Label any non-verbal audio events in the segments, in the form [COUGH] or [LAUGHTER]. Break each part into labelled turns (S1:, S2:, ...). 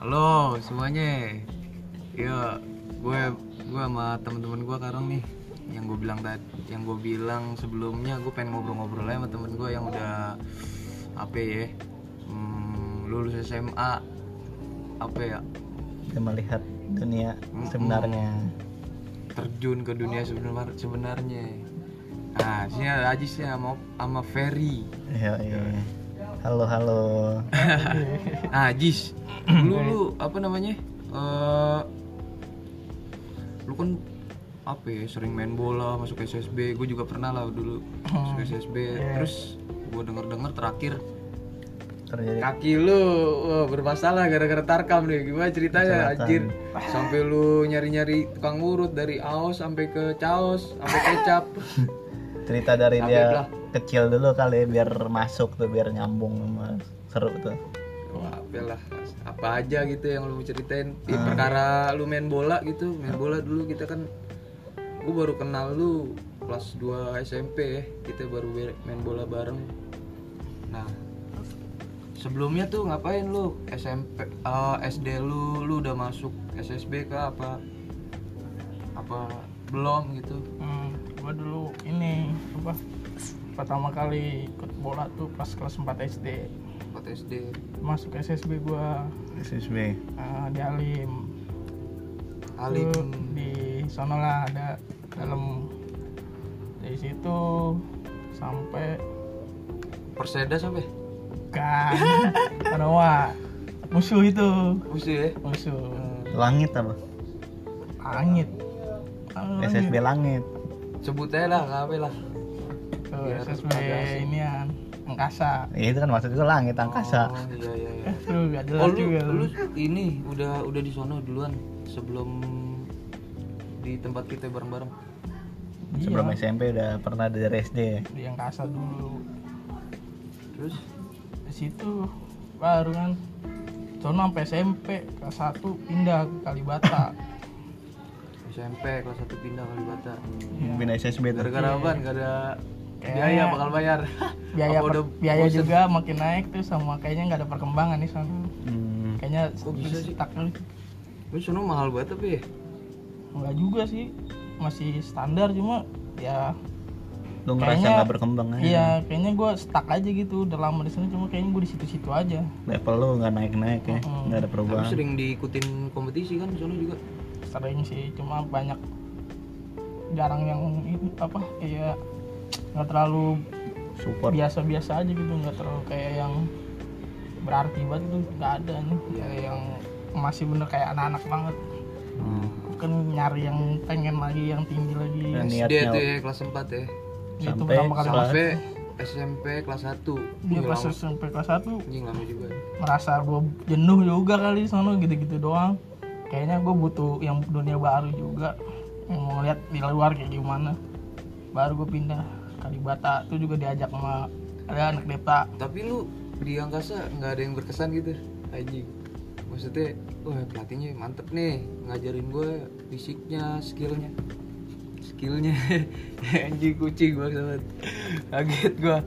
S1: lo semuanya ya gue gue sama temen-temen gue sekarang nih yang gue bilang tadi yang gue bilang sebelumnya gue pengen ngobrol-ngobrol aja sama temen gue yang udah apa ya hmm, lulus SMA apa ya
S2: dan melihat dunia sebenarnya
S1: terjun ke dunia sebenar sebenarnya nah sini ada Ajis ya sama sama Ferry
S2: iya iya halo halo
S1: Nah, Jis, lu, lu apa namanya? Eh, lu kan apa ya, sering main bola, masuk SSB. Gue juga pernah lah dulu masuk SSB. Terus gue denger-denger terakhir
S2: terjadi
S1: kaki lu wah, bermasalah gara-gara tarkam nih. Gimana ceritanya anjir? Sampai lu nyari-nyari tukang urut dari Aos sampai ke Caos, sampai kecap.
S2: cerita dari dia kecil dulu kali ya, biar masuk tuh biar nyambung sama seru tuh
S1: Wah, apalah apa aja gitu yang lu mau ceritain di perkara lu main bola gitu main bola dulu kita kan gue baru kenal lu kelas 2 SMP ya kita baru be- main bola bareng nah sebelumnya tuh ngapain lu SMP eh, SD lu lu udah masuk SSB kah apa apa belum gitu
S3: Hmm, gua dulu ini apa pertama kali ikut bola tuh pas kelas 4 SD
S1: buat SD
S3: masuk SSB gua
S2: SSB
S3: eh, di Alim
S1: Alim
S3: Tuh, di sono lah ada dalam dari situ sampai
S1: Perseda ya? sampai
S3: kan
S1: [LAUGHS]
S3: Kanawa musuh itu
S1: musuh ya
S3: musuh
S2: langit apa
S3: langit Ah,
S2: SSB langit
S1: sebut aja lah ngapain lah
S3: tuh, SSB ini angkasa
S2: ya, itu kan maksud itu langit angkasa
S1: oh iya iya iya
S3: tuh gak
S1: Oh,
S3: jelas
S1: lu,
S3: juga
S1: lu ini udah udah di sono duluan sebelum di tempat kita bareng-bareng.
S3: Iya,
S2: sebelum SMP udah pernah dari SD ya
S3: di angkasa dulu
S1: Terus
S3: di situ baru kan sono sampai SMP kelas 1 pindah ke
S1: [LAUGHS]
S3: Kalibata
S1: SMP kelas 1 pindah Kalibata.
S2: Bina SSB tuh
S3: Iya,
S1: Gara-gara apa? Gak ada
S3: Kayak-
S1: biaya bakal bayar.
S3: Ya. [LAUGHS] biaya
S1: Apa
S3: per-
S1: udah
S3: biaya
S1: bosen?
S3: juga makin naik tuh sama kayaknya nggak ada perkembangan di sana
S2: Hmm,
S3: kayaknya
S1: Kok bisa sih?
S3: stuck kali.
S1: Lu sono mahal banget tapi ya.
S3: nggak juga sih masih standar cuma ya
S2: lu ngerasa
S3: Kayaknya-
S2: nggak berkembang
S1: Nah,
S2: aja
S1: ya.
S3: iya kayaknya gue stuck aja gitu udah lama di sana cuma kayaknya gue di situ-situ aja
S2: level lu nggak naik naik ya nggak ada
S1: Lu
S2: perubahan
S1: sering diikutin kompetisi kan di sono juga.
S3: sering sih cuma banyak jarang yang ini apa kayak nggak terlalu
S2: support
S3: iya. biasa-biasa aja gitu nggak terlalu kayak yang berarti banget tuh nggak ada nih kayak yang masih bener kayak anak-anak banget
S2: Hmm.
S3: kan nyari yang pengen lagi yang tinggi lagi
S2: Dan
S1: SD
S2: niatnya
S1: tuh ya kelas 4 ya.
S3: itu
S2: sampai
S3: pertama kali
S2: kelas-
S3: masuk
S1: Sampai SMP kelas 1.
S3: dia pas SMP Iya, kelas 1
S1: Anjing lama juga.
S3: merasa gue jenuh juga kali sana gitu-gitu doang kayaknya gue butuh yang dunia baru juga yang mau ngeliat di luar kayak gimana baru gue pindah ke Kalibata itu juga diajak sama ada anak depa
S1: Tapi lu di angkasa nggak ada yang berkesan gitu anjing maksudnya wah pelatihnya mantep nih ngajarin gue fisiknya skillnya skillnya [LAUGHS] anjing kucing gue banget kaget gue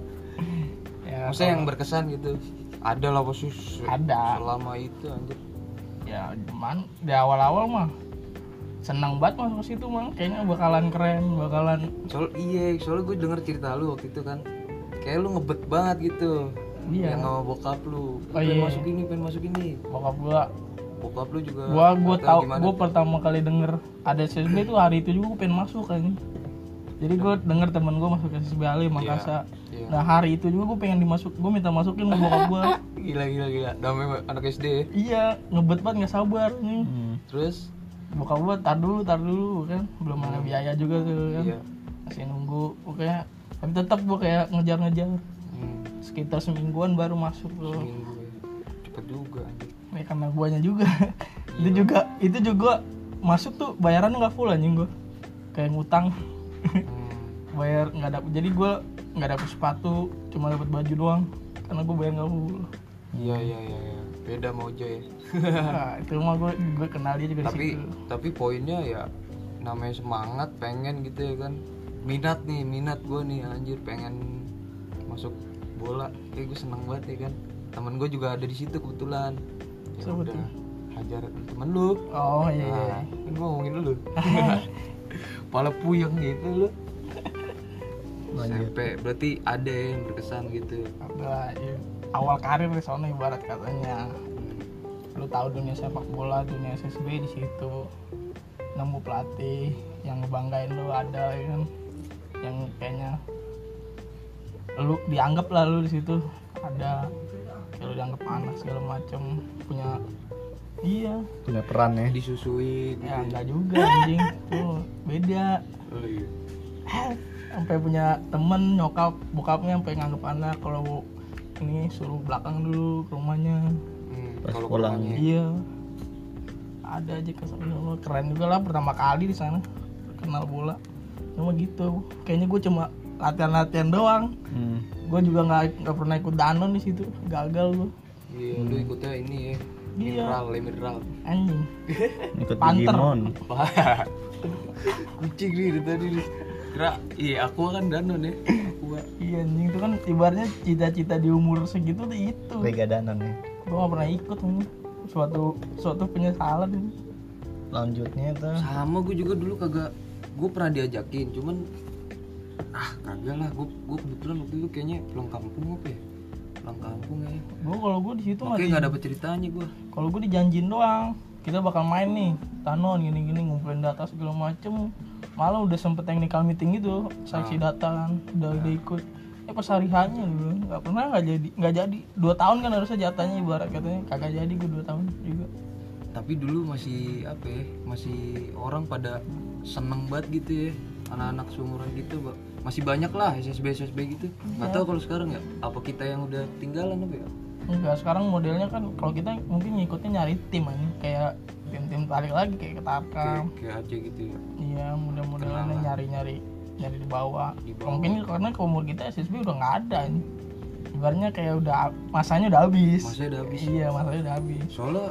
S3: ya,
S1: maksudnya yang berkesan gitu ada lah pasti se-
S3: Ada.
S1: selama itu anjir
S3: ya cuman di awal-awal mah senang banget masuk ke situ mah kayaknya bakalan keren bakalan
S1: soal iya soalnya gue denger cerita lu waktu itu kan kayak lu ngebet banget gitu
S3: Iya.
S1: yang sama bokap lu
S3: Oh,
S1: pengen
S3: iya.
S1: masuk ini pengen masuk ini
S3: bokap gua
S1: bokap lu juga
S3: gua gua
S1: atau
S3: tahu
S1: gimana
S3: gua pertama kali denger ada SSB itu hari itu juga gua pengen masuk kan jadi gua denger temen gua masuk SSB Ali Mangkasa
S1: Iya.
S3: nah hari itu juga gua pengen dimasuk gua minta masukin sama bokap
S1: [LAUGHS]
S3: gua
S1: gila gila gila damai anak SD ya
S3: iya ngebet banget nggak sabar nih
S2: Hmm.
S1: terus
S3: bokap gua tar dulu tar dulu kan belum ada biaya juga tuh kan
S1: Iya.
S3: masih nunggu pokoknya tapi tetap gua kayak ngejar-ngejar
S1: Hmm,
S3: sekitar semingguan baru masuk tuh
S1: seminggu ya. cepet juga anjir.
S3: ya karena guanya
S1: [LAUGHS]
S3: juga itu
S1: Iya.
S3: juga itu juga masuk tuh bayaran nggak full anjing gua kayak ngutang
S1: Hmm,
S3: [LAUGHS] bayar nggak dapet jadi gua nggak dapet sepatu cuma dapet baju doang karena gua bayar nggak
S1: [LAUGHS]
S3: full
S1: iya iya iya iya. beda mau aja ya
S3: nah, itu mah gua gua kenal dia juga di
S1: tapi
S3: situ
S1: tapi poinnya ya namanya semangat pengen gitu ya kan minat nih minat gue nih anjir pengen masuk Eh, bola kayak gue seneng banget ya kan temen gue juga ada di situ kebetulan ya udah hajar temen lu
S3: oh iya iya
S1: Nah, kan gue ngomongin
S3: [LAUGHS]
S1: lu Pala puyeng gitu lu
S2: Lanjut.
S1: SMP berarti ada yang berkesan gitu
S3: Apa, iya. awal karir di sana ibarat katanya lu tahu dunia sepak bola dunia SSB di situ nemu pelatih yang ngebanggain lu ada ya kan yang kayaknya lu dianggap lah lu di situ ada kayak lu dianggap anak segala macem punya iya
S2: punya peran ya
S1: disusui gitu
S3: ya enggak juga anjing tuh beda
S1: oh, iya.
S3: sampai punya temen nyokap bokapnya sampai nganggep anak kalau ini suruh belakang dulu ke rumahnya
S1: Hmm,
S2: Pas
S1: kalau
S2: pulang.
S1: pulangnya
S3: iya ada aja kesan ya keren juga lah pertama kali di sana kenal bola cuma gitu kayaknya gue cuma latihan-latihan doang
S2: hmm.
S3: gue juga nggak nggak pernah ikut danon di situ gagal gue
S1: iya lu ikutnya ini ya
S3: Iya.
S1: mineral le mineral
S3: anjing
S2: ikut
S3: Panter.
S2: Digimon
S1: Wah, [LAUGHS] kucing nih dari tadi nih kira iya aku kan danon ya aku
S3: iya anjing itu kan ibaratnya cita-cita di umur segitu tuh itu
S2: Liga Danon ya
S3: gue nggak pernah ikut anjing suatu suatu penyesalan ini
S2: lanjutnya tuh
S1: sama gue juga dulu kagak gue pernah diajakin cuman ah kagak lah gue gue kebetulan waktu itu kayaknya pulang kampung apa ya pulang kampung ya
S3: gue kalau gue di situ mah
S1: makanya nggak dapet ceritanya gue
S3: kalau gue dijanjin doang kita bakal main nih tanon gini gini ngumpulin data segala macem malah udah sempet technical meeting gitu seleksi data kan udah udah ikut eh pas hari hanya dulu nggak pernah nggak jadi nggak jadi dua tahun kan harusnya jatanya ibarat katanya kagak jadi gue dua tahun juga
S1: tapi dulu masih apa ya masih orang pada seneng banget gitu ya anak-anak seumuran gitu Ba- masih banyak lah SSB SSB gitu nggak tahu kalau sekarang ya apa kita yang udah ketinggalan apa ya
S3: enggak sekarang modelnya kan kalau kita mungkin ngikutnya nyari tim aja kayak tim-tim tarik lagi
S1: kayak,
S3: kayak ketarkam
S1: kayak aja gitu ya
S3: iya mudah-mudahan nyari-nyari nyari di bawah
S1: Di bawah.
S3: mungkin karena ke umur kita SSB udah nggak ada nih ibaratnya kayak udah masanya udah habis
S1: masih udah habis
S3: Iya, masalahnya udah habis.
S1: soalnya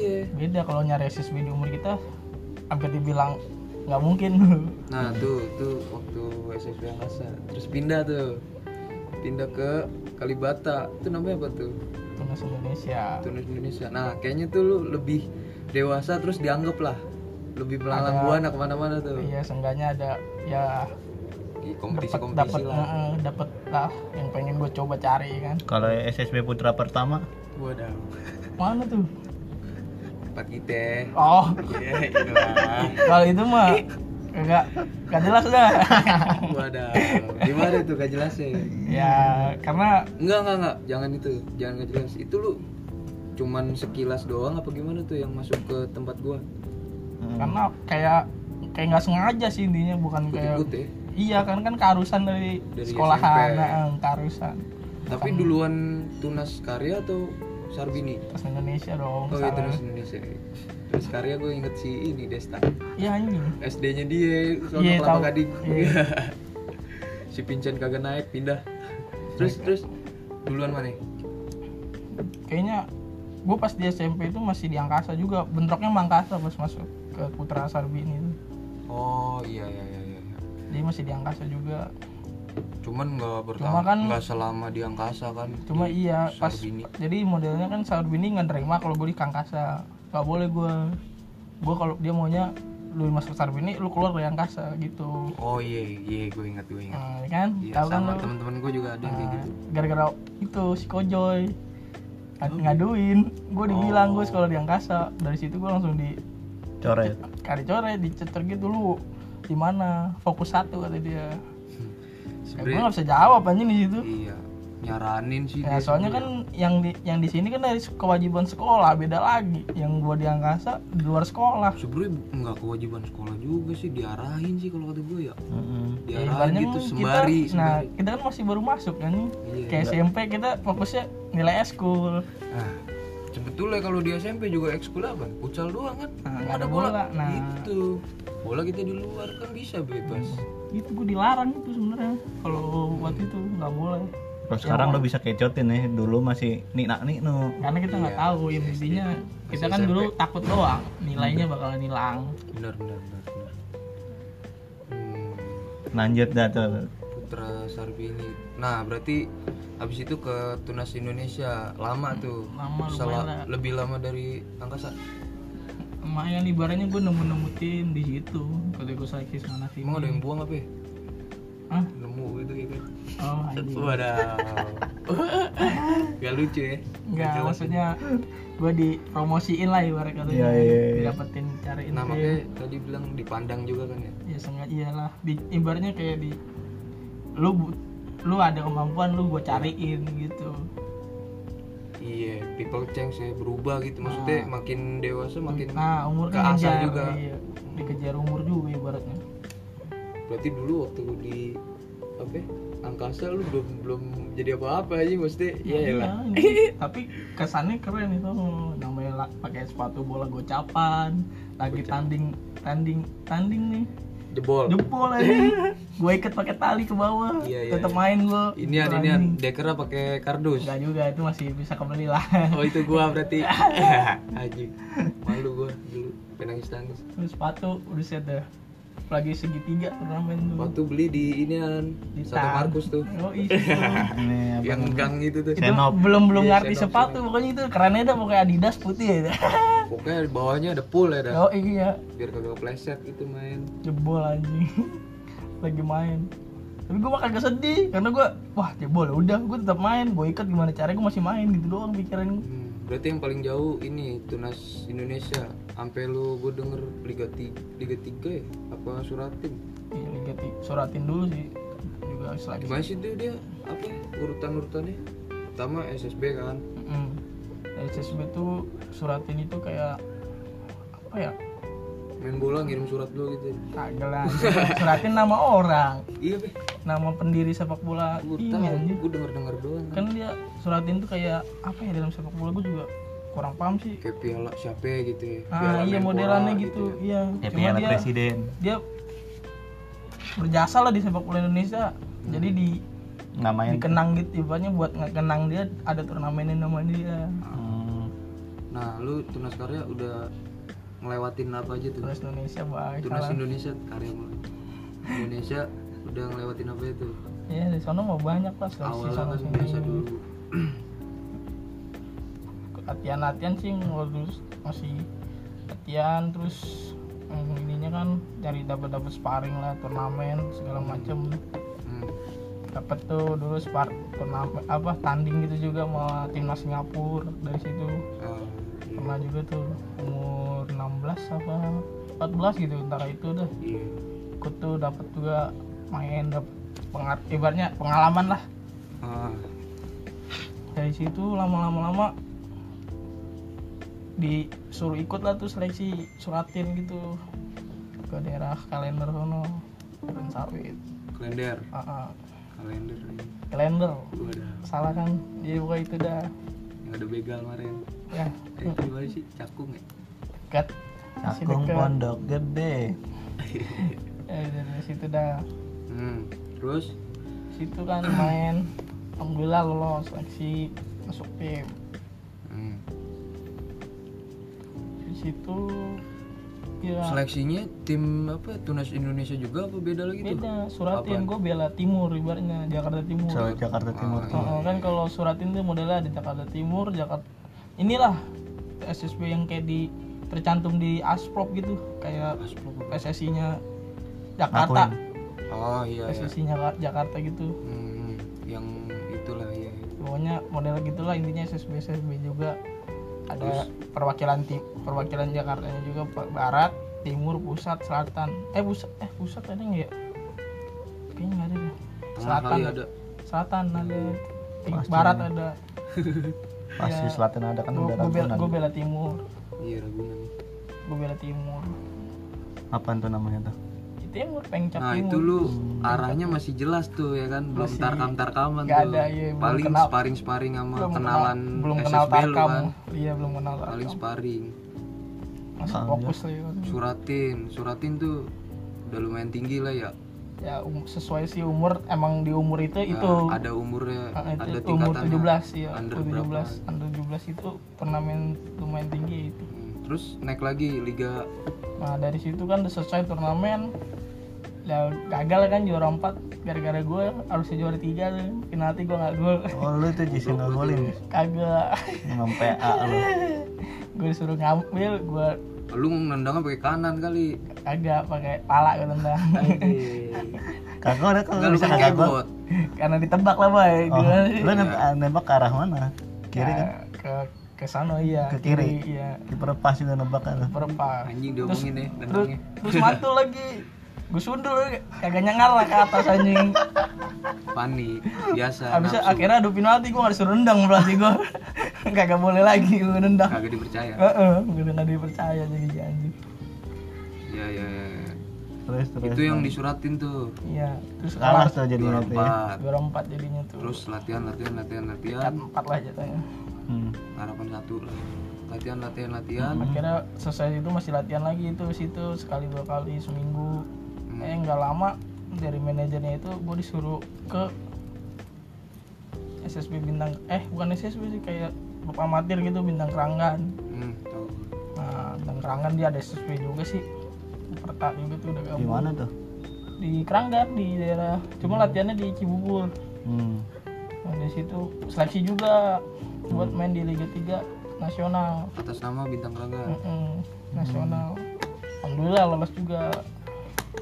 S1: iya
S3: Beda kalau nyari SSB di umur kita hampir dibilang nggak mungkin. [LAUGHS]
S1: Nah tuh tuh waktu SSB Angkasa terus pindah tuh pindah ke Kalibata itu namanya apa tuh
S3: Tunas Indonesia.
S1: Tunas Indonesia. Nah kayaknya tuh lu lebih dewasa terus dianggap lah lebih melalang
S3: Ada-
S1: buana kemana-mana tuh
S3: Iya, seenggaknya ada ya
S1: di kompetisi
S3: dapat
S1: kompetisi
S3: dapat
S1: lah.
S3: dapat lah yang pengen gue coba cari kan.
S2: kalau SSB Putra pertama
S1: Waduh
S3: Mana tuh?
S1: empat kita.
S3: Oh,
S1: Ya iyalah.
S3: kalau itu mah enggak enggak jelas dah. [LAUGHS]
S1: Waduh gimana tuh gak jelas ya?
S3: ya, karena
S1: Enggak enggak enggak jangan itu jangan gak jelas itu lu cuman sekilas doang apa gimana tuh yang masuk ke tempat gua
S2: hmm,
S3: karena kayak kayak nggak sengaja sih intinya bukan kayak
S1: ikut-ikut ya.
S3: Iya kan kan karusan dari,
S1: Dari SMP.
S3: sekolahan, nah, karusan.
S1: Tapi duluan Tunas Karya atau Sarbini?
S3: Terus Indonesia dong.
S1: Oh iya
S3: salah.
S1: Tunas Indonesia. Tunas Karya gue inget si ini Desta.
S3: Iya anjing.
S1: SD-nya dia, soalnya
S3: Iya,
S1: kelapa
S3: tahu.
S1: gading.
S3: Iya.
S1: [LAUGHS] si Pincen kagak naik pindah. Terus terus duluan mana?
S3: Kayaknya gue pas di SMP itu masih di angkasa juga. Bentroknya sama angkasa pas masuk ke Putra Sarbini itu.
S1: Oh iya iya iya. iya.
S3: Jadi masih di angkasa juga.
S1: Cuman nggak
S3: Cuma
S1: bertahan,
S3: kan-
S1: nggak selama di angkasa kan.
S3: Cuma
S1: Di
S3: iya pas
S1: Sarbini.
S3: jadi modelnya kan Sarbini nggak nerima kalau gue di angkasa. Gak boleh gue. Gue kalau dia maunya lu masuk Sarbini lu keluar dari angkasa gitu.
S1: Oh iya iya gue ingat gue ingat.
S3: Nah, kan?
S1: Iya
S3: Tahu kan
S1: sama
S3: lu? Ah,
S1: teman-teman gue juga ada yang kayak gitu.
S3: gara-gara itu si Kojoy
S1: Oh.
S3: Ng- ngaduin gue dibilang gue sekolah di angkasa dari situ gue langsung di
S2: coret
S3: kari coret dicecer gitu lu di mana fokus satu kata dia ya, gue
S1: Sebenernya
S3: nggak bisa jawab anjing di situ
S1: iya nyaranin sih dia
S3: ya soalnya kan yang di yang di sini kan dari se- kewajiban sekolah beda lagi yang gue di angkasa di luar sekolah
S1: sebenarnya nggak kewajiban sekolah juga sih diarahin sih kalau kata gue ya
S2: Mm-mm.
S3: Ya,
S1: diarahin
S3: ibaratnya
S1: gitu
S3: kan
S1: sembari
S3: kita, nah kita kan masih baru masuk kan nih
S1: Iya.
S3: kayak SMP kita fokusnya nilai eskul
S1: sembari. nah sebetulnya kalau di SMP juga ekskul apa futsal doang kan Nggak
S3: Nah, nggak ada bola. Nah.
S1: gitu bola kita di luar kan bisa bebas
S3: itu gue Gitu, dilarang itu sebenarnya kalau buat itu nggak boleh
S2: Kalau sekarang lo bisa kecotin ya, dulu masih nih nak nih no.
S3: karena kita
S2: Iya,
S3: nggak tahu yang intinya kita kan dulu takut doang
S2: Hmm.
S3: nilainya bakalan hilang
S1: benar benar benar, benar. Hmm,
S2: Lanjut dah tuh.
S1: Putra Sarbini nah berarti habis itu ke Tunas Indonesia lama tuh
S3: Hmm, Lama, lumayan
S1: salah
S3: lah.
S1: lebih lama dari angkasa
S3: lumayan ibaratnya gue nemu-nemu tim di situ kalau gue sakit mana tim
S1: emang ada yang buang apa ya
S3: Hah?
S1: nemu gitu gitu
S3: oh anjing
S1: wadah [LAUGHS] gak lucu ya
S3: Enggak, maksudnya gue dipromosiin lah ibarat kata
S2: Iya, iya, iya.
S3: dapetin cariin
S1: nah
S3: tim.
S1: makanya tadi bilang dipandang juga kan ya
S3: ya sengaja iyalah di, ibaratnya kayak di lu bu- lu ada kemampuan lu gue cariin gitu
S1: iya people change ya berubah gitu
S3: Ah.
S1: maksudnya makin dewasa makin
S3: nah umur
S1: Ke asal
S3: kan kejar
S1: juga.
S3: iya. dikejar umur juga ibaratnya
S1: berarti dulu waktu lu di apa ya, angkasa lu belum belum jadi apa-apa aja maksudnya ya
S3: iya,
S1: lah
S3: ini. tapi kesannya keren itu namanya la- pakai sepatu bola gocapan lagi tanding tanding tanding nih
S1: jebol
S3: jempol aja
S1: [LAUGHS]
S3: gue ikat pakai tali ke bawah
S1: Oh. Iya, iya,
S3: tetap main gue
S1: ini ada ini an dekera pakai kardus
S3: enggak juga itu masih bisa kembali lah [LAUGHS]
S1: oh itu gua berarti aji malu gua dulu penangis nangis
S3: terus sepatu udah set dah lagi segitiga turnamen tuh
S1: waktu beli di ini an
S3: Di
S1: satu
S3: Tan.
S1: Markus tuh [LAUGHS]
S3: oh iya
S2: Ini apa
S1: yang
S2: namanya?
S1: gang itu tuh
S3: itu
S2: Senop.
S3: belum belum
S1: Iya,
S3: ngerti
S1: senop,
S3: sepatu pokoknya itu kerennya dah pokoknya Adidas putih ya dah.
S1: pokoknya di bawahnya ada pool ya dah
S3: oh iya
S1: biar kagak pleset gitu main
S3: jebol anjing [LAUGHS] lagi main tapi gue makan gak sedih karena gue wah jebol ya udah gue tetap main gue ikat gimana caranya gue masih main gitu doang pikiran gue
S1: Hmm, berarti yang paling jauh ini tunas Indonesia sampai lu gue denger Liga 3 Liga 3 ya apa Suratin
S3: iya Liga Ti- suratin dulu sih juga lagi
S1: gimana sih tuh dia apa ya, urutan-urutannya pertama SSB kan
S3: Mm. SSB tuh suratin itu kayak apa ya
S1: main bola ngirim surat dulu gitu
S3: kagak
S1: [LAUGHS]
S3: lah suratin nama orang
S1: iya be
S3: nama pendiri sepak bola
S1: gue
S3: ini
S1: tahu
S3: anjir.
S1: gue denger denger doang
S3: kan dia suratin tuh kayak apa ya dalam sepak bola gue juga kurang paham sih
S1: kayak piala siapa gitu ya piala
S3: ah iya
S1: main
S3: modelannya
S1: bola
S3: gitu, iya
S2: Ya,
S3: cuma
S2: piala
S3: dia
S2: presiden
S3: dia berjasa lah di sepak bola Indonesia jadi di
S2: nggak main
S3: dikenang gitu ibaratnya buat ngekenang dia ada turnamen yang nama dia
S2: Hmm,
S1: nah lu tunas karya udah ngelewatin apa aja tuh
S3: terus Indonesia baik
S1: tunas
S3: lah
S1: Indonesia karya mulai Indonesia udah ngelewatin apa itu
S3: ya di sana mau banyak lah seleksi
S1: awalnya
S3: sana
S1: kan biasa
S3: sini
S1: dulu
S3: latihan-latihan sih waktu masih latihan terus mm, ininya kan dari dapat dapat sparring lah turnamen segala macam
S1: hmm.
S3: dapat tuh dulu spar turnamen apa tanding gitu juga sama timnas Singapura dari situ
S1: ah, iya,
S3: pernah juga tuh umur 16 apa 14 gitu antara itu dah
S1: iya.
S3: ikut tuh dapat juga main dapat pengar ibaratnya pengalaman lah
S1: Ah,
S3: dari situ lama-lama lama disuruh ikut lah tuh seleksi suratin gitu ke daerah kalender sono Kebun sawit
S1: kalender
S3: Ah, ah.
S1: kalender ini.
S3: kalender
S1: Gua ada
S3: salah kan jadi pokoknya itu dah
S1: yang ada begal kemarin
S3: ya
S1: eh, itu gimana sih cakung ya
S3: dekat Masih
S2: cakung
S3: dekat.
S2: pondok gede
S3: ya, dari situ dah
S1: hmm. terus
S3: situ kan main alhamdulillah lolos seleksi masuk tim
S1: hmm.
S3: di situ ya
S1: seleksinya tim apa tunas Indonesia juga apa beda lagi tuh
S3: beda suratin gue bela timur ibaratnya Jakarta Timur
S2: Soal Jakarta Timur tuh
S3: Oh, kan kalau suratin tuh modelnya ada Jakarta Timur Jakarta inilah SSB yang kayak di tercantum di asprop gitu
S1: Ah,
S3: kayak PSSI nya Jakarta
S1: oh iya ya
S3: PSSI nya Jakarta gitu
S1: hmm. yang itulah ya
S3: pokoknya model gitulah intinya SSB SSB juga ada perwakilan tim perwakilan Jakarta nya juga Pak, barat timur pusat selatan eh pusat eh pusat ada nggak ya kayaknya nggak ada deh
S1: tengah
S3: selatan
S1: kali ada
S3: selatan ada Tim- barat ada
S2: pasti selatan ada kan
S3: gue
S2: daerah
S3: bela,
S2: Ragunan
S3: gua bela timur
S1: iya ragunan
S3: gue bela timur
S2: apaan tuh namanya [LAUGHS] tuh
S3: di timur pengcap
S1: nah itu
S3: timur
S1: lu arahnya masih jelas tuh ya kan belum
S3: Hmm. Masih-
S1: tarkam tarkaman
S3: nggak
S1: tuh
S3: ada, iya, belum
S1: paling
S3: kenal.
S1: sparring sparring sama
S3: belum
S1: kenalan
S3: kenal, belum
S1: SSB
S3: kenal
S1: lu
S3: tarkam
S1: kan
S3: iya belum kenal
S1: paling
S3: tarkam
S1: sparring
S3: masih fokus lah ya.
S1: suratin suratin tuh udah lumayan tinggi lah ya
S3: ya um- sesuai sih umur emang di umur itu itu
S1: Nah, ada umurnya
S3: Ah,
S1: ada
S3: itu umur
S1: tingkatan
S3: 17 ya
S1: under
S3: umur
S1: berapa
S3: 17 under 17 itu turnamen lumayan tinggi itu
S1: Hmm, terus naik lagi liga
S3: nah dari situ kan udah selesai turnamen Lah, gagal kan juara 4 gara-gara gue harusnya juara 3 tuh penalti gue nggak gol [LAUGHS]
S2: oh lu tuh Jason nggak golin
S3: kagak [LAUGHS]
S2: Emang PA lu
S3: gue disuruh ngambil gue
S1: Lu nendangnya pakai kanan
S2: [LAUGHS]
S1: kali.
S3: kagak pakai pala gue tendang [LAUGHS]
S2: kagak ada
S1: Enggak
S2: kalau
S1: lu
S2: bisa
S1: kan
S2: kagak gol
S1: kebot.
S3: karena ditebak lah boy
S2: oh
S3: Gua-
S2: lu nembak, nembak ke arah mana kiri
S3: Ya,
S2: kan
S3: ke ke sana iya
S2: Ke kiri?
S3: iya
S2: kiper pas juga nembak kan lu.
S3: berempat
S1: Anjing diomongin ya, nih
S3: terus
S1: tendangnya.
S3: terus mantul lagi gue sundul kagak nyengar lah ke atas anjing
S2: [LAUGHS]
S1: Panik biasa.
S3: Habis
S1: nafsu.
S3: akhirnya adu penalti gue gak disuruh nendang berarti gue [LAUGHS] Kagak boleh lagi gue nendang
S1: kagak dipercaya.
S3: Heeh, gue nendang dipercaya jadi janji
S1: Ya ya ya. ya.
S2: terus terus
S1: Itu yang disuratin tuh.
S3: Iya, terus
S2: kalah
S3: kalah
S2: tuh
S1: Juara
S2: jadinya tuh ya
S1: empat.
S3: Juara empat jadinya tuh
S1: Terus latihan latihan latihan latihan.
S3: Cat empat lah jatuhnya
S2: Hmm.
S1: Harapan satu lah. Latihan latihan latihan.
S3: Akhirnya selesai itu masih latihan lagi itu situ sekali dua kali seminggu Eh nggak lama dari manajernya itu gue disuruh ke SSB bintang eh bukan SSB sih kayak klub amatir gitu bintang keranggan
S1: Hmm, tahu.
S3: Nah, dan Keranggan dia ada SSP juga sih. Perta juga tuh udah
S2: di
S3: gabung.
S2: mana tuh
S3: Di Keranggan di daerah. Cuma latihannya di Cibubur.
S2: hmm.
S3: Nah, di situ seleksi juga buat main di Liga 3 nasional.
S1: Atas nama bintang raga.
S3: Mm-mm, nasional. Alhamdulillah lolos juga.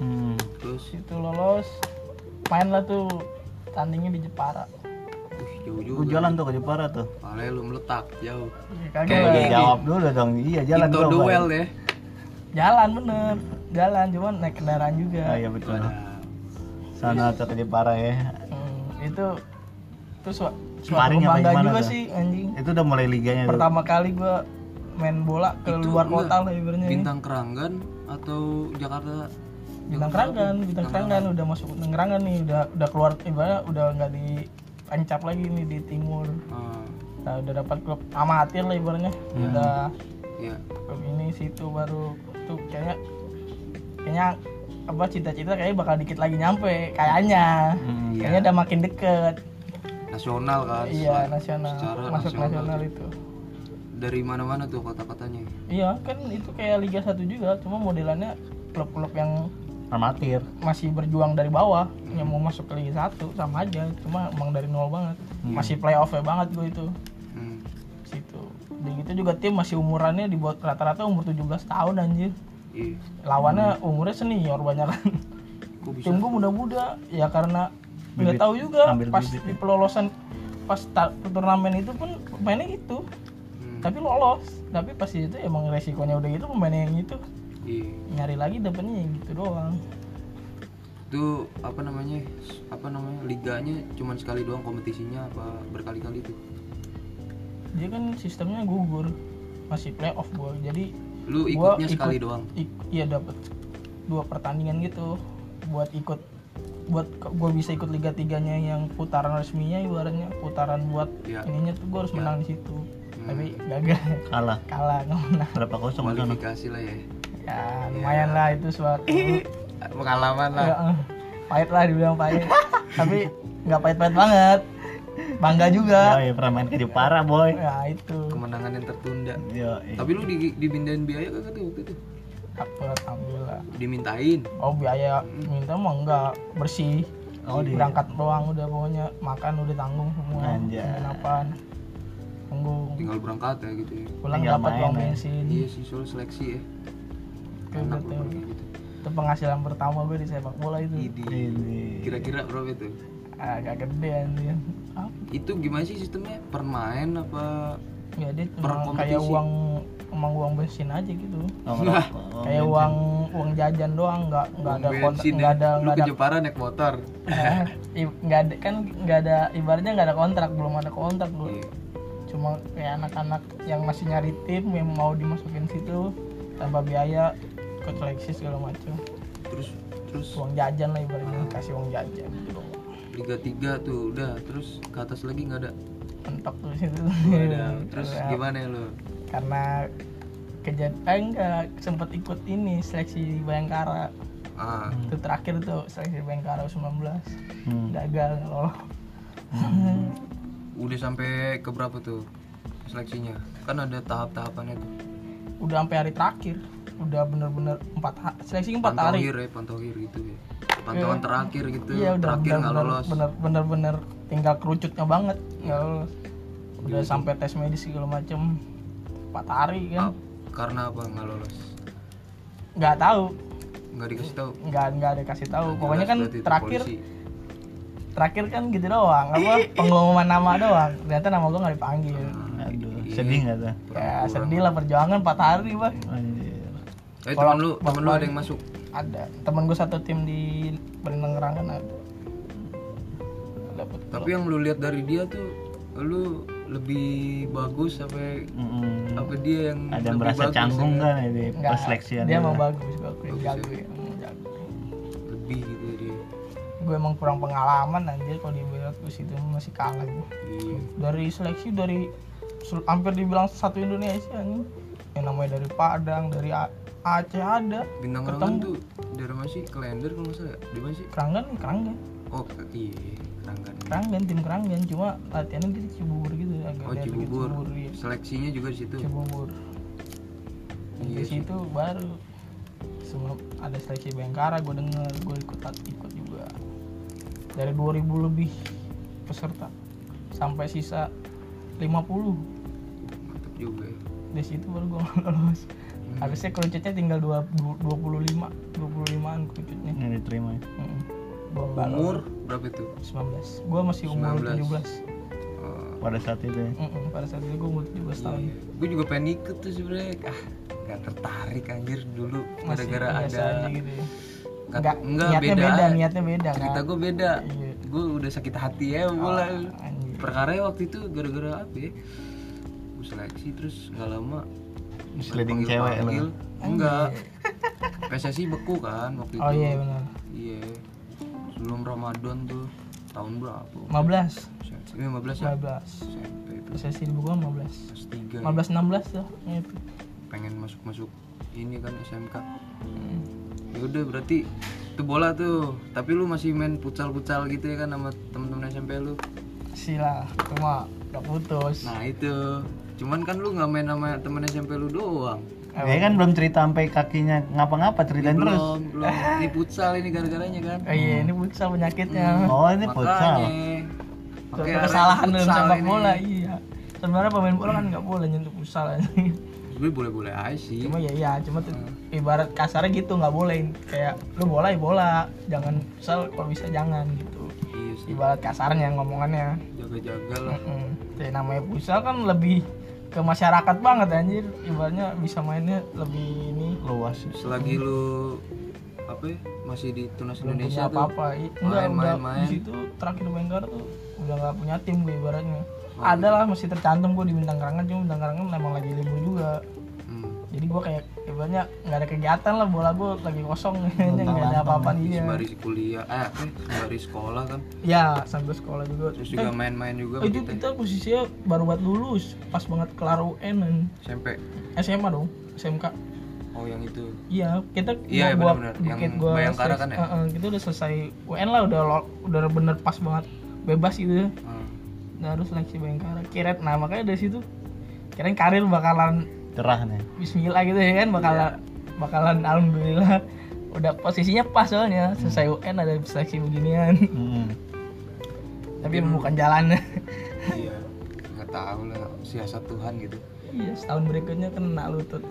S2: Hmm.
S1: Terus
S3: Situ lolos. Main lah tuh tandingnya di Jepara.
S1: uh, jauh
S2: Lu
S1: juga.
S2: jalan tuh ke Jepara tuh
S1: Pale lu meletak jauh.
S3: Ya,
S1: Kayak
S3: Kagak
S2: Lu
S1: gini.
S2: jawab dulu dong iya jalan
S1: Into
S2: gua, Bay.
S1: duel ya.
S3: jalan bener. Jalan cuman naik kendaraan juga.
S2: ah iya betul
S1: Nah,
S2: sana tuh ke Jepara ya
S3: Hmm, itu itu su- suatu
S2: Sparring apa
S3: kebanggaan
S2: gimana tuh?
S3: juga
S2: Iya,
S3: sih anjing.
S2: itu udah mulai liganya tuh
S3: pertama kali gue main bola ke
S1: Itu
S3: luar
S1: enggak.
S3: kota lah ibaratnya ya.
S1: bintang keranggan atau Jakarta
S3: bintang kerangan bintang kerangan udah masuk bintang kerangan nih udah udah keluar ibaratnya udah nggak di ancap lagi nih di timur
S1: Ah,
S3: nah, udah dapat klub amatir lah ibaratnya
S1: Hmm.
S3: udah
S1: ya.
S3: klub ini situ baru tuh kayaknya kayaknya apa cita-cita kayaknya bakal dikit lagi nyampe kayaknya
S2: Hmm,
S1: iya.
S3: kayaknya udah makin deket
S1: Nasional kan.
S3: iya
S1: Secara-
S3: nasional
S1: secara
S3: masuk
S1: nasional.
S3: nasional itu
S1: Dari mana-mana tuh kota-kotanya.
S3: iya kan itu kayak Liga 1 juga cuma modelannya klub-klub yang
S2: amatir
S3: masih berjuang dari bawah yang mau masuk ke Liga 1 sama aja cuma emang dari nol banget masih playoff banget gue itu
S1: Hmm.
S3: situ dan gitu juga tim masih umurannya dibuat rata-rata umur 17 tahun anjir
S1: Iya.
S3: lawannya umurnya senior banyak kan
S1: Kok bisa?
S3: tim gue muda-muda ya karena nggak tahu juga
S2: ambil
S3: pas
S2: bibit
S3: di pelolosan pas ta- turnamen itu pun pemainnya gitu
S1: Hmm.
S3: tapi lolos tapi pas itu emang resikonya udah gitu pemainnya yang gitu
S1: Iya.
S3: nyari lagi dapetnya yang gitu doang
S1: itu apa namanya apa namanya liganya cuman sekali doang kompetisinya apa berkali-kali itu
S3: dia kan sistemnya gugur masih playoff gua jadi
S1: lu
S3: Gua
S1: ikutnya sekali
S3: ikut-
S1: doang
S3: ik- iya dapat dua pertandingan gitu buat ikut buat ke- gua bisa ikut liga tiganya yang putaran resminya ibaratnya putaran buat
S1: Iya. Hmm.
S3: ininya tuh gua harus menang di situ tapi gagal [LAUGHS]
S2: kalah
S3: kalah nggak menang
S2: berapa kosong kan
S1: kualifikasi lah ya
S3: ya lumayan lah itu suatu
S1: pengalaman Iya. [LAUGHS] lah
S3: ya, eh, pahit lah dibilang
S1: [LAUGHS]
S3: pahit tapi nggak pahit-pahit banget bangga juga
S2: oh iya pernah main ke Jepara boy
S3: ya itu
S1: kemenangan yang tertunda
S2: Yo,
S3: Iya.
S1: tapi lu di, dibindahin biaya kagak tuh waktu itu
S3: dapet alhamdulillah
S1: dimintain
S3: Oh biaya minta mah enggak bersih.
S2: Oh, di-
S3: berangkat doang udah pokoknya makan udah tanggung semua.
S2: Anjay.
S3: Penginapan tanggung
S1: tinggal berangkat ya gitu ya
S3: pulang
S2: Tinggal
S3: dapat
S2: main
S3: uang
S2: ya.
S3: bensin.
S1: iya sih soal seleksi ya
S3: Kayak
S1: enak
S3: gitu.
S1: lu pergi gitu
S3: Itu penghasilan pertama gue di sepak bola itu.
S1: Idi.
S2: ini
S1: kira-kira berapa itu
S3: Agak gede Ah, anjir. Apa?
S1: itu gimana sih sistemnya permain apa
S3: Ya dia
S1: Per
S3: cuma
S1: kompetisi.
S3: kayak uang emang uang bensin aja gitu.
S2: Oh, ngerokok. Oh,
S3: kayak uang uang jajan doang nggak nggak ada
S1: Uang
S3: kontrak
S1: bensin
S3: nggak
S1: ya?
S3: ada
S1: lu
S3: nggak
S1: ke
S3: [LAUGHS] ada
S1: Jepara naik motor
S3: eh, i- nggak ada kan nggak ada ibaratnya nggak ada kontrak belum ada kontrak dulu
S1: Iya.
S3: cuma kayak anak-anak yang masih nyari tim yang mau dimasukin situ tanpa biaya ikut seleksi segala macam
S1: terus terus
S3: uang jajan lah ibaratnya kasih uang jajan gitu dong
S1: liga tiga tuh udah terus ke atas lagi nggak ada
S3: mentok tuh situ [LAUGHS]
S1: Waduh, terus
S3: Karena-
S1: gimana ya lo?
S3: karena kejadian eh, enggak sempat ikut ini seleksi Bayangkara
S1: Ah,
S3: itu terakhir tuh seleksi Bayangkara 19
S2: Hmm.
S3: gagal loh
S1: udah sampai ke berapa tuh seleksinya? Kan ada tahap-tahapannya tuh.
S3: udah sampai hari terakhir udah bener-bener empat ha- seleksi empat hari
S1: Pantauhir ya, pantauhir gitu ya. pantauan terakhir gitu
S3: Iya udah
S1: terakhir nggak
S3: bener-bener
S1: lolos
S3: bener bener bener tinggal kerucutnya banget nggak lolos.
S1: Iya,
S3: Udah sampai tes medis segala macem empat hari kan
S1: Ah, karena apa nggak lolos
S3: nggak tahu
S1: nggak dikasih tahu
S3: nggak nggak ada kasih tahu pokoknya
S1: Jelas
S3: kan
S1: berarti itu
S3: terakhir
S1: polisi.
S3: terakhir kan gitu doang
S1: [LAUGHS]
S3: apa pengumuman nama doang ternyata nama gue nggak dipanggil
S1: Ah,
S2: Aduh,
S1: Iya.
S2: sedih nggak tuh?
S3: ya sedih lah perjuangan 4 hari bang
S2: Anjir.
S1: eh teman lu teman lu ada yang masuk
S3: ada temen gue satu tim di Berenang kan ada dapat
S1: tapi yang lu lihat dari dia tuh lu lebih bagus sampai
S2: Mm-mm.
S1: apa dia yang
S2: Ada
S1: lebih
S2: merasa
S1: bagus,
S2: canggung
S1: ya?
S2: kan ya di pas seleksian
S3: dia
S2: itu?
S3: emang bagus bagus jago ya emang jago
S1: lebih gitu dia
S3: gue emang kurang pengalaman anjir kalau dibilang gue situ masih kalah gue
S1: Iya.
S3: dari seleksi dari sel- hampir dibilang satu Indonesia nih yang namanya dari Padang dari A- Aceh ada
S1: bintang Rangan tuh dari mana sih kalender kalau nggak salah ya? di mana sih
S3: Keranggan Keranggan
S1: oh ke- iya Rangan
S3: Keranggan tim Keranggan cuma latihannya gitu Cibubur gitu agak
S1: oh
S3: dari
S1: Cibubur
S3: Cibubur iya.
S1: seleksinya juga di situ
S3: Cibubur
S1: Iya
S3: di situ baru sebelum ada seleksi Bengkara gue denger gue ikut ikut juga dari 2000 lebih peserta sampai sisa 50
S1: mantap juga ya.
S3: di situ baru [LAUGHS] gue lolos
S1: Hmm.
S3: harusnya kerucutnya tinggal dua- du- 25 25an kerucutnya
S2: Yang diterima. ya.
S3: mm. gue
S1: umur berapa itu
S3: 19 gue masih umur 17
S1: Eh,
S2: Pada saat itu ya.
S3: Mm-mm, pada saat itu gue umur
S1: Iya.
S3: 17 tahun
S1: gue juga pengen ikut tuh sebenarnya ah nggak tertarik anjir dulu
S3: Masih
S1: gara-gara
S3: biasa
S1: ada
S3: aja gitu ya.
S1: nggak-
S3: Enggak,
S1: nggak,
S3: niatnya
S1: beda,
S3: beda, niatnya beda
S1: cerita
S3: kan
S1: gue beda
S3: Iya. Ah.
S1: gue udah sakit hati ya bola
S3: Anjir.
S1: perkara ya waktu itu gara-gara apa ya gue seleksi terus nggak lama
S2: Sliding cewek lo.
S1: panggil enggak PSSI beku kan waktu itu
S3: Iya. Oh iya benar.
S1: iya sebelum Ramadan tuh tahun berapa
S3: 15,
S1: SMP 15 ya
S3: 15.
S1: SMP itu
S3: Sesi di buku 15.
S1: kelas 3
S3: 15 16 tuh. ya itu.
S1: pengen masuk-masuk ini kan SMK
S3: Hmm.
S1: ya udah berarti itu bola tuh tapi lu masih main futsal-futsal gitu ya kan sama temen-temen SMP lu
S3: Sila, cuma udah putus.
S1: nah itu cuman kan lu nggak main sama temen SMP lu doang
S2: Dia kan belum cerita sampai kakinya ngapa-ngapa ceritain
S3: Iya,
S2: terus.
S1: belum belum ini futsal ini gara-garanya kan
S3: Oh iya, ini futsal
S1: Hmm.
S3: penyakitnya.
S2: Oh ini
S1: makanya
S2: futsal.
S3: Suatu
S1: makanya
S3: kesalahan
S1: arahnya
S3: dalam
S1: futsal
S3: sepak
S1: ini.
S3: bola, iya. Sebenarnya pemain bola kan nggak boleh nyentuh futsal aja.
S1: Sebenarnya boleh-boleh aja sih
S3: Cuma ya iya, cuma tuh
S1: Hmm.
S3: ibarat kasarnya gitu nggak boleh kayak lu bola ya bola, jangan futsal kalau bisa jangan gitu.
S1: iya sih
S3: Ibarat kasarnya ngomongannya.
S1: jaga-jaga lah
S3: Mm-mm. Jadi namanya futsal kan lebih ke masyarakat banget anjir. Ibaratnya bisa mainnya lebih ini
S2: Luas.
S1: selagi lu apa ya, masih di tunas
S3: belum
S1: Indonesia
S3: punya
S1: tuh
S3: apa-apa. I- Enggak,
S1: Main,
S3: udah
S1: main, main.
S3: di situ terakhir Bengkar tuh udah nggak punya tim gue ibaratnya. Ada lah masih tercantum gue di bintang kerangan cuma bintang kerangan memang lagi libur juga.
S1: hmm,
S3: Jadi gue kayak ibaratnya nggak ada kegiatan lah bola gue lagi kosong [LAUGHS] nggak ada apa-apa dia.
S1: sembari kuliah eh apa ya, sembari sekolah kan
S3: Ya sambil sekolah juga.
S1: terus juga main-main juga
S3: Eh, Itu kita posisinya baru buat lulus, pas banget kelar UN
S1: SMP
S3: SMA dong, SMK.
S1: oh yang itu
S3: Iya, kita
S1: Iya,
S3: gua-
S1: benar-benar.
S3: gua-
S1: Yang
S3: kita- gua
S1: Bayangkara kan ya?
S3: Eh, eh, kita udah selesai UN lah udah lo- udah bener pas banget bebas gitu.
S1: hmm.
S3: Nah, harus seleksi Bayangkara. Kirain nah makanya dari situ kirain karir bakalan
S2: Cerah nih.
S3: bismillah gitu ya kan bakalan
S1: Iya.
S3: bakalan alhamdulillah udah posisinya pas
S1: Hmm.
S3: soalnya selesai UN ada seleksi beginian [LAUGHS]
S2: Mm-mm.
S3: tapi
S1: Hmm.
S3: emang bukan jalannya
S1: iya nggak tahu lah siasat Tuhan gitu
S3: [LAUGHS] iya setahun berikutnya kena lutut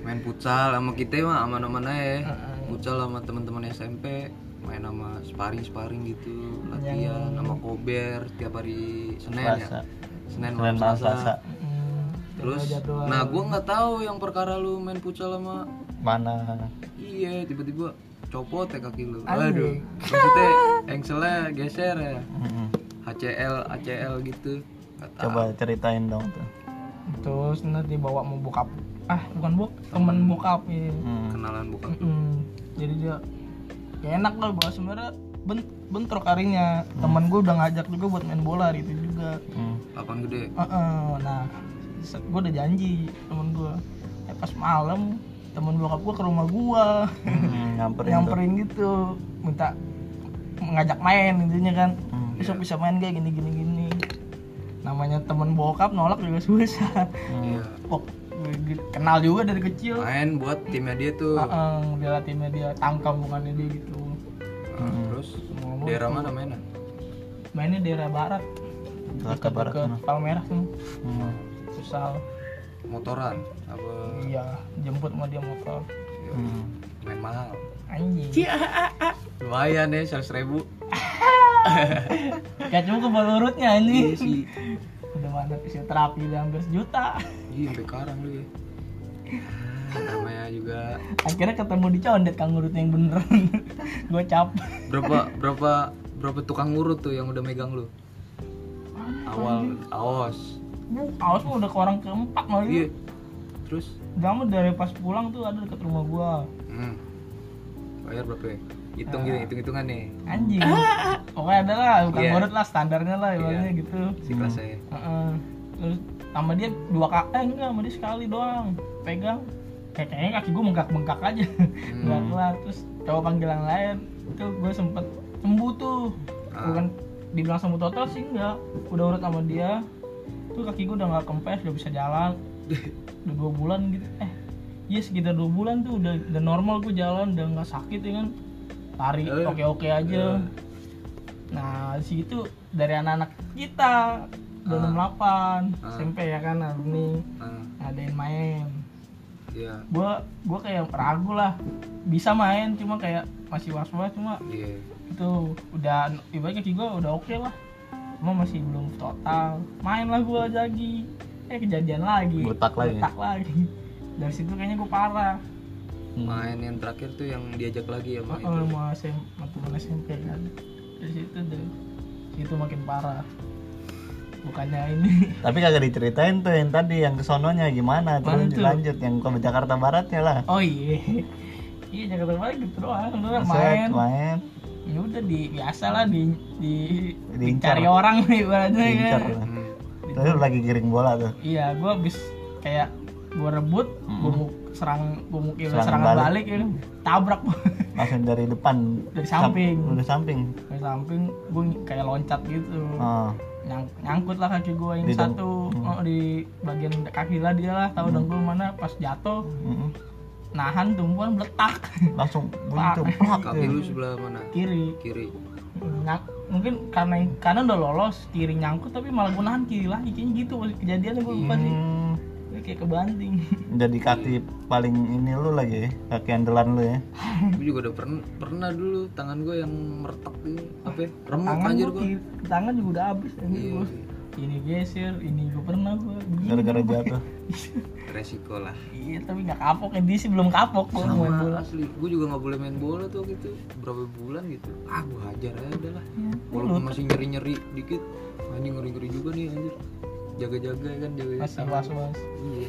S1: main futsal sama kita mah aman-aman aja futsal sama teman-teman SMP main sama sparring sparring gitu latihan sama kober tiap hari
S3: Iya,
S1: Senin
S2: Selasa.
S1: ya Senin
S2: Keren
S1: malam
S2: malam
S1: Selasa
S2: Selasa.
S3: Mm,
S1: [LAUGHS] terus
S3: jadwal-
S1: nah gua nggak tahu yang perkara lu main futsal sama
S2: Mana?
S1: iya tiba-tiba copot ya kaki lu aduh
S3: Anjing.
S1: maksudnya engselnya geser ya
S2: Mm-mm.
S1: HCL ACL gitu nggak tahu
S2: Coba ceritain dong tuh.
S3: terus nanti dibawa mau bokap ah bukan bok temen bokap ya
S2: Mm.
S1: kenalan bukan
S3: Mm-mm. Gitu. jadi dia ya enak lah gua sebenarnya ben- bentrok harinya temen gue udah ngajak juga buat main bola hari itu juga
S2: Mm.
S1: lapang gede
S3: Heeh, nah gue udah janji temen gue eh, pas malam temen bokap gue ke rumah gue
S2: Mm, Nyamperin tuh.
S3: nyamperin gitu minta ngajak main intinya kan
S2: Mm.
S3: besok bisa main kayak gini gini gini namanya temen bokap nolak juga susah [LAUGHS]
S1: iya
S3: Pok, gitu. kenal juga dari kecil
S1: main buat timnya dia tuh
S3: Heeh, bela timnya dia tangkam bukannya dia gitu
S1: Nah, terus
S3: Ngomong
S1: daerah mana mainan
S3: mainnya daerah barat
S2: Jakarta Barat
S3: ke
S2: sana.
S3: Palmerah tuh
S2: Hmm.
S3: susah
S1: motoran apa
S3: iya jemput sama dia motor
S1: ya,
S2: Hmm.
S1: main mahal
S3: anjing
S1: lumayan ya seratus ribu
S3: gak cuma ke lurutnya
S1: Iya
S3: ini
S1: sih
S3: udah mana fisioterapi udah hampir sejuta
S1: iya sampai karang lu ya Ah, namanya juga
S3: akhirnya ketemu di condet kang urut yang bener [LAUGHS] gue cap
S1: berapa berapa berapa tukang urut tuh yang udah megang lu awal aos
S3: awas mah udah ke orang keempat
S1: iya
S3: lagi
S1: terus
S3: kamu dari pas pulang tuh ada deket rumah gua
S1: hmm. bayar berapa ya? hitung gitu hitung hitungan nih
S3: anjing pokoknya ada lah bukan
S1: Ah. Iya.
S3: urut lah standarnya lah ibaratnya gitu
S1: si kelas saya
S3: Heeh. terus sama dia dua kak eh enggak sama dia sekali doang pegang kayak kayaknya kaki gue bengkak bengkak aja nggak kelar terus coba panggilan lain itu gue sempet sembuh tuh
S1: Ah.
S3: bukan dibilang sembuh total sih enggak udah urut sama dia tuh kaki gue udah nggak kempes udah bisa jalan udah dua bulan gitu eh iya sekitar dua bulan tuh udah udah normal gue jalan udah nggak sakit ya kan lari
S1: Eh.
S3: oke oke aja Nah, di situ dari anak-anak kita 268 SMP ya kan alumni
S1: Ah,
S3: ada yang main.
S1: iya
S3: Gua gua kayak ragu lah. Bisa main cuma kayak masih was-was cuma
S1: iya
S3: itu udah ibaratnya kaki gua udah oke lah. Cuma masih belum total. Main lah gua lagi. Eh kejadian lagi.
S2: Botak lagi.
S3: Botak lagi. Dari situ kayaknya gua parah.
S1: main yang terakhir tuh yang diajak lagi ya
S2: Oh,
S1: main
S2: iya.
S3: Kalau mau SM, mau teman SMP kan. Dari situ deh. Itu makin parah. Bukannya ini [LAUGHS]
S2: Tapi kagak diceritain tuh yang tadi yang kesononya gimana
S3: Mana
S2: terus
S3: tuh?
S2: lanjut yang ke Jakarta Baratnya lah.
S3: Oh iya. Iya Jakarta Barat gitu doang, lu kan
S2: Set,
S3: main.
S2: main.
S3: Ya udah di biasa lah di di
S2: Diincar.
S3: dicari orang nih ibaratnya
S2: Incer.
S3: kan.
S1: Hmm.
S2: Terus lagi giring bola tuh.
S3: Iya, gua habis kayak gua rebut, gua mau serang gua mau kira
S2: Serangan
S3: serangan
S2: balik. Mm.
S3: balik, ya. tabrak gua. [LAUGHS]
S2: Langsung dari depan.
S3: Dari samping.
S2: Sam- Dari samping.
S3: Dari samping gua kayak loncat gitu.
S2: Oh.
S3: Nyang- nyangkut lah kaki gua yang
S2: Di dong- Mm.
S3: satu oh, di bagian kaki lah dia lah, tahu dengkul mana pas jatuh
S2: Mm-mm.
S3: nahan tumpuan meletak [LAUGHS]
S2: Langsung bunyi tuh plak
S1: kaki
S2: tuh.
S1: lu sebelah mana
S3: kiri
S1: kiri
S3: Nyak- mungkin karena karena udah lolos kiri nyangkut tapi malah gue nahan kiri lagi kayaknya gitu kejadiannya gue lupa sih
S2: Hmm.
S3: Gue kayak kebanting
S1: Mm.
S2: Jadi kaki paling ini lu lagi ya, kaki andalan lu ya.
S1: gue juga udah pernah pernah dulu tangan gue yang meretak ini apa ya? remuk
S3: tangan gitu.
S1: anjir
S3: gue
S1: gue
S3: tangan juga udah habis anjir
S1: Iya.
S3: gua. ini geser ini gue pernah gue
S2: Gara-gara jatuh.
S1: resiko lah
S3: iya tapi nggak kapok ya dia sih belum kapok gue main bola
S1: Wah, asli gue juga nggak boleh main bola tuh waktu itu berapa bulan gitu ah gue hajar aja udah lah
S3: Iya,
S1: walaupun masih nyeri nyeri dikit anjing ngeri ngeri juga nih anjir jaga jaga kan jaga
S3: masih was was
S1: iya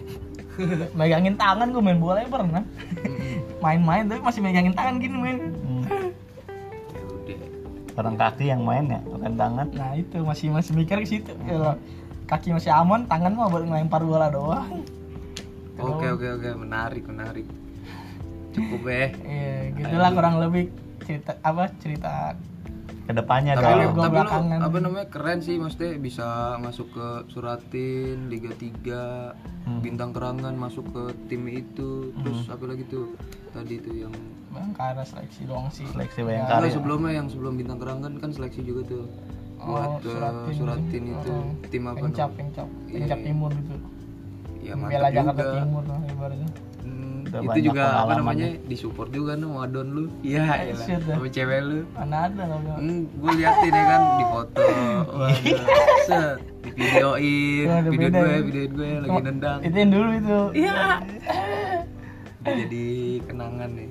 S3: megangin tangan gue main bola ya pernah main-main tapi masih megangin tangan gini main
S2: Hmm.
S1: ya udah
S2: Orang kaki yang main ya, bukan tangan.
S3: nah itu masih masih mikir ke situ Ya Allah. kaki masih aman tangan mah buat ngelempar bola doang Oh.
S1: oke oke oke menarik menarik cukup eh
S3: Iya, gitulah kurang lebih cerita apa cerita
S2: Kedepannya
S1: tapi lu,
S2: ada.
S3: gua
S1: tapi lu
S3: belakangan.
S1: apa namanya keren sih maksudnya bisa masuk ke suratin liga 3 bintang kerangan masuk ke tim itu terus apa lagi tuh tadi tuh yang
S3: bangkara seleksi doang sih.
S2: Seleksi
S1: Nah,
S2: bayangkari.
S1: sebelumnya yang sebelum bintang kerangan kan seleksi juga tuh buat ke suratin, itu tim apa
S3: Pencap,
S1: namanya?
S3: pencap, pencap timur gitu.
S1: ya
S3: Bela
S1: mantap
S3: Jakarta
S1: juga
S3: Timur lah ibaratnya.
S1: Hmm,
S2: Udah
S1: itu
S2: banyak
S1: juga apa
S2: pengalaman
S1: namanya disupport juga nih wadon lu iya
S3: Eh,
S1: elah.
S3: shit dah.
S1: sama cewek lu
S3: Mana ada lah bilang.
S1: Hmm, gue liatin ya kan di foto, waduh, set, di videoin,
S3: Itu ada
S1: video
S3: beda
S1: gue,
S3: ya.
S1: video gue lagi nendang,
S3: Itu yang dulu itu.
S1: Udah jadi kenangan nih,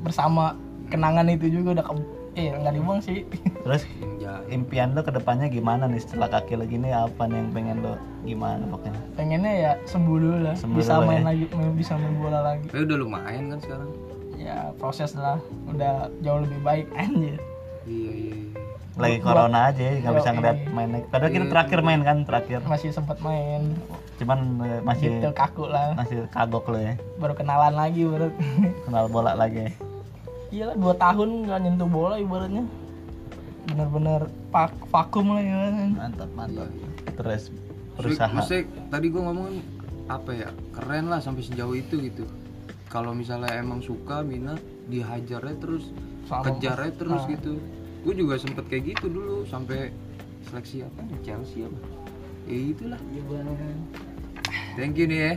S3: Bersama kenangan itu juga udah ke eh nggak dibuang sih. [LAUGHS]
S2: Terus
S1: yang jahat.
S2: impian lu kedepannya gimana nih setelah kaki lu gini apa nih yang pengen lu gimana pokoknya?
S3: Pengennya ya sembuh dulu lah.
S2: Sembuh dulu
S3: bisa
S2: ya.
S3: main lagi, main- bisa main bola lagi.
S1: Tapi udah lumayan kan sekarang,
S3: Ya proses lah. Udah jauh lebih baik [LAUGHS] anjir.
S1: iya iya. iya.
S2: Lagi corona aja ya, nggak bisa
S3: Yoi.
S2: ngeliat main lagi. Padahal kita terakhir main kan terakhir.
S3: Masih sempat main
S2: Cuman eh, masih
S3: gitu kaku lah.
S2: masih kagok lu ya.
S3: Baru kenalan lagi baru. [LAUGHS]
S2: Kenal bola lagi.
S3: Iyalah dua tahun nggak nyentuh bola ibaratnya bener-bener pak vakum lah ya
S2: Mantap mantap. Terus berusaha.
S1: Maksudnya tadi gue ngomong kan apa ya keren lah sampai sejauh itu gitu kalau misalnya emang suka minat dihajarnya terus
S3: Sama-
S1: kejarnya terus
S3: Nah.
S1: gitu gue juga sempet kayak gitu dulu sampai seleksi apa ya, Chelsea apa ya itulah thank you nih ya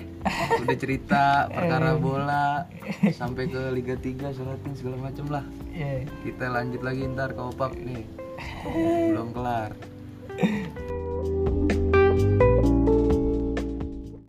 S1: udah cerita perkara bola sampai ke Liga 3 seratin segala macem lah
S3: Iya.
S1: kita lanjut lagi ntar ke opak nih belum kelar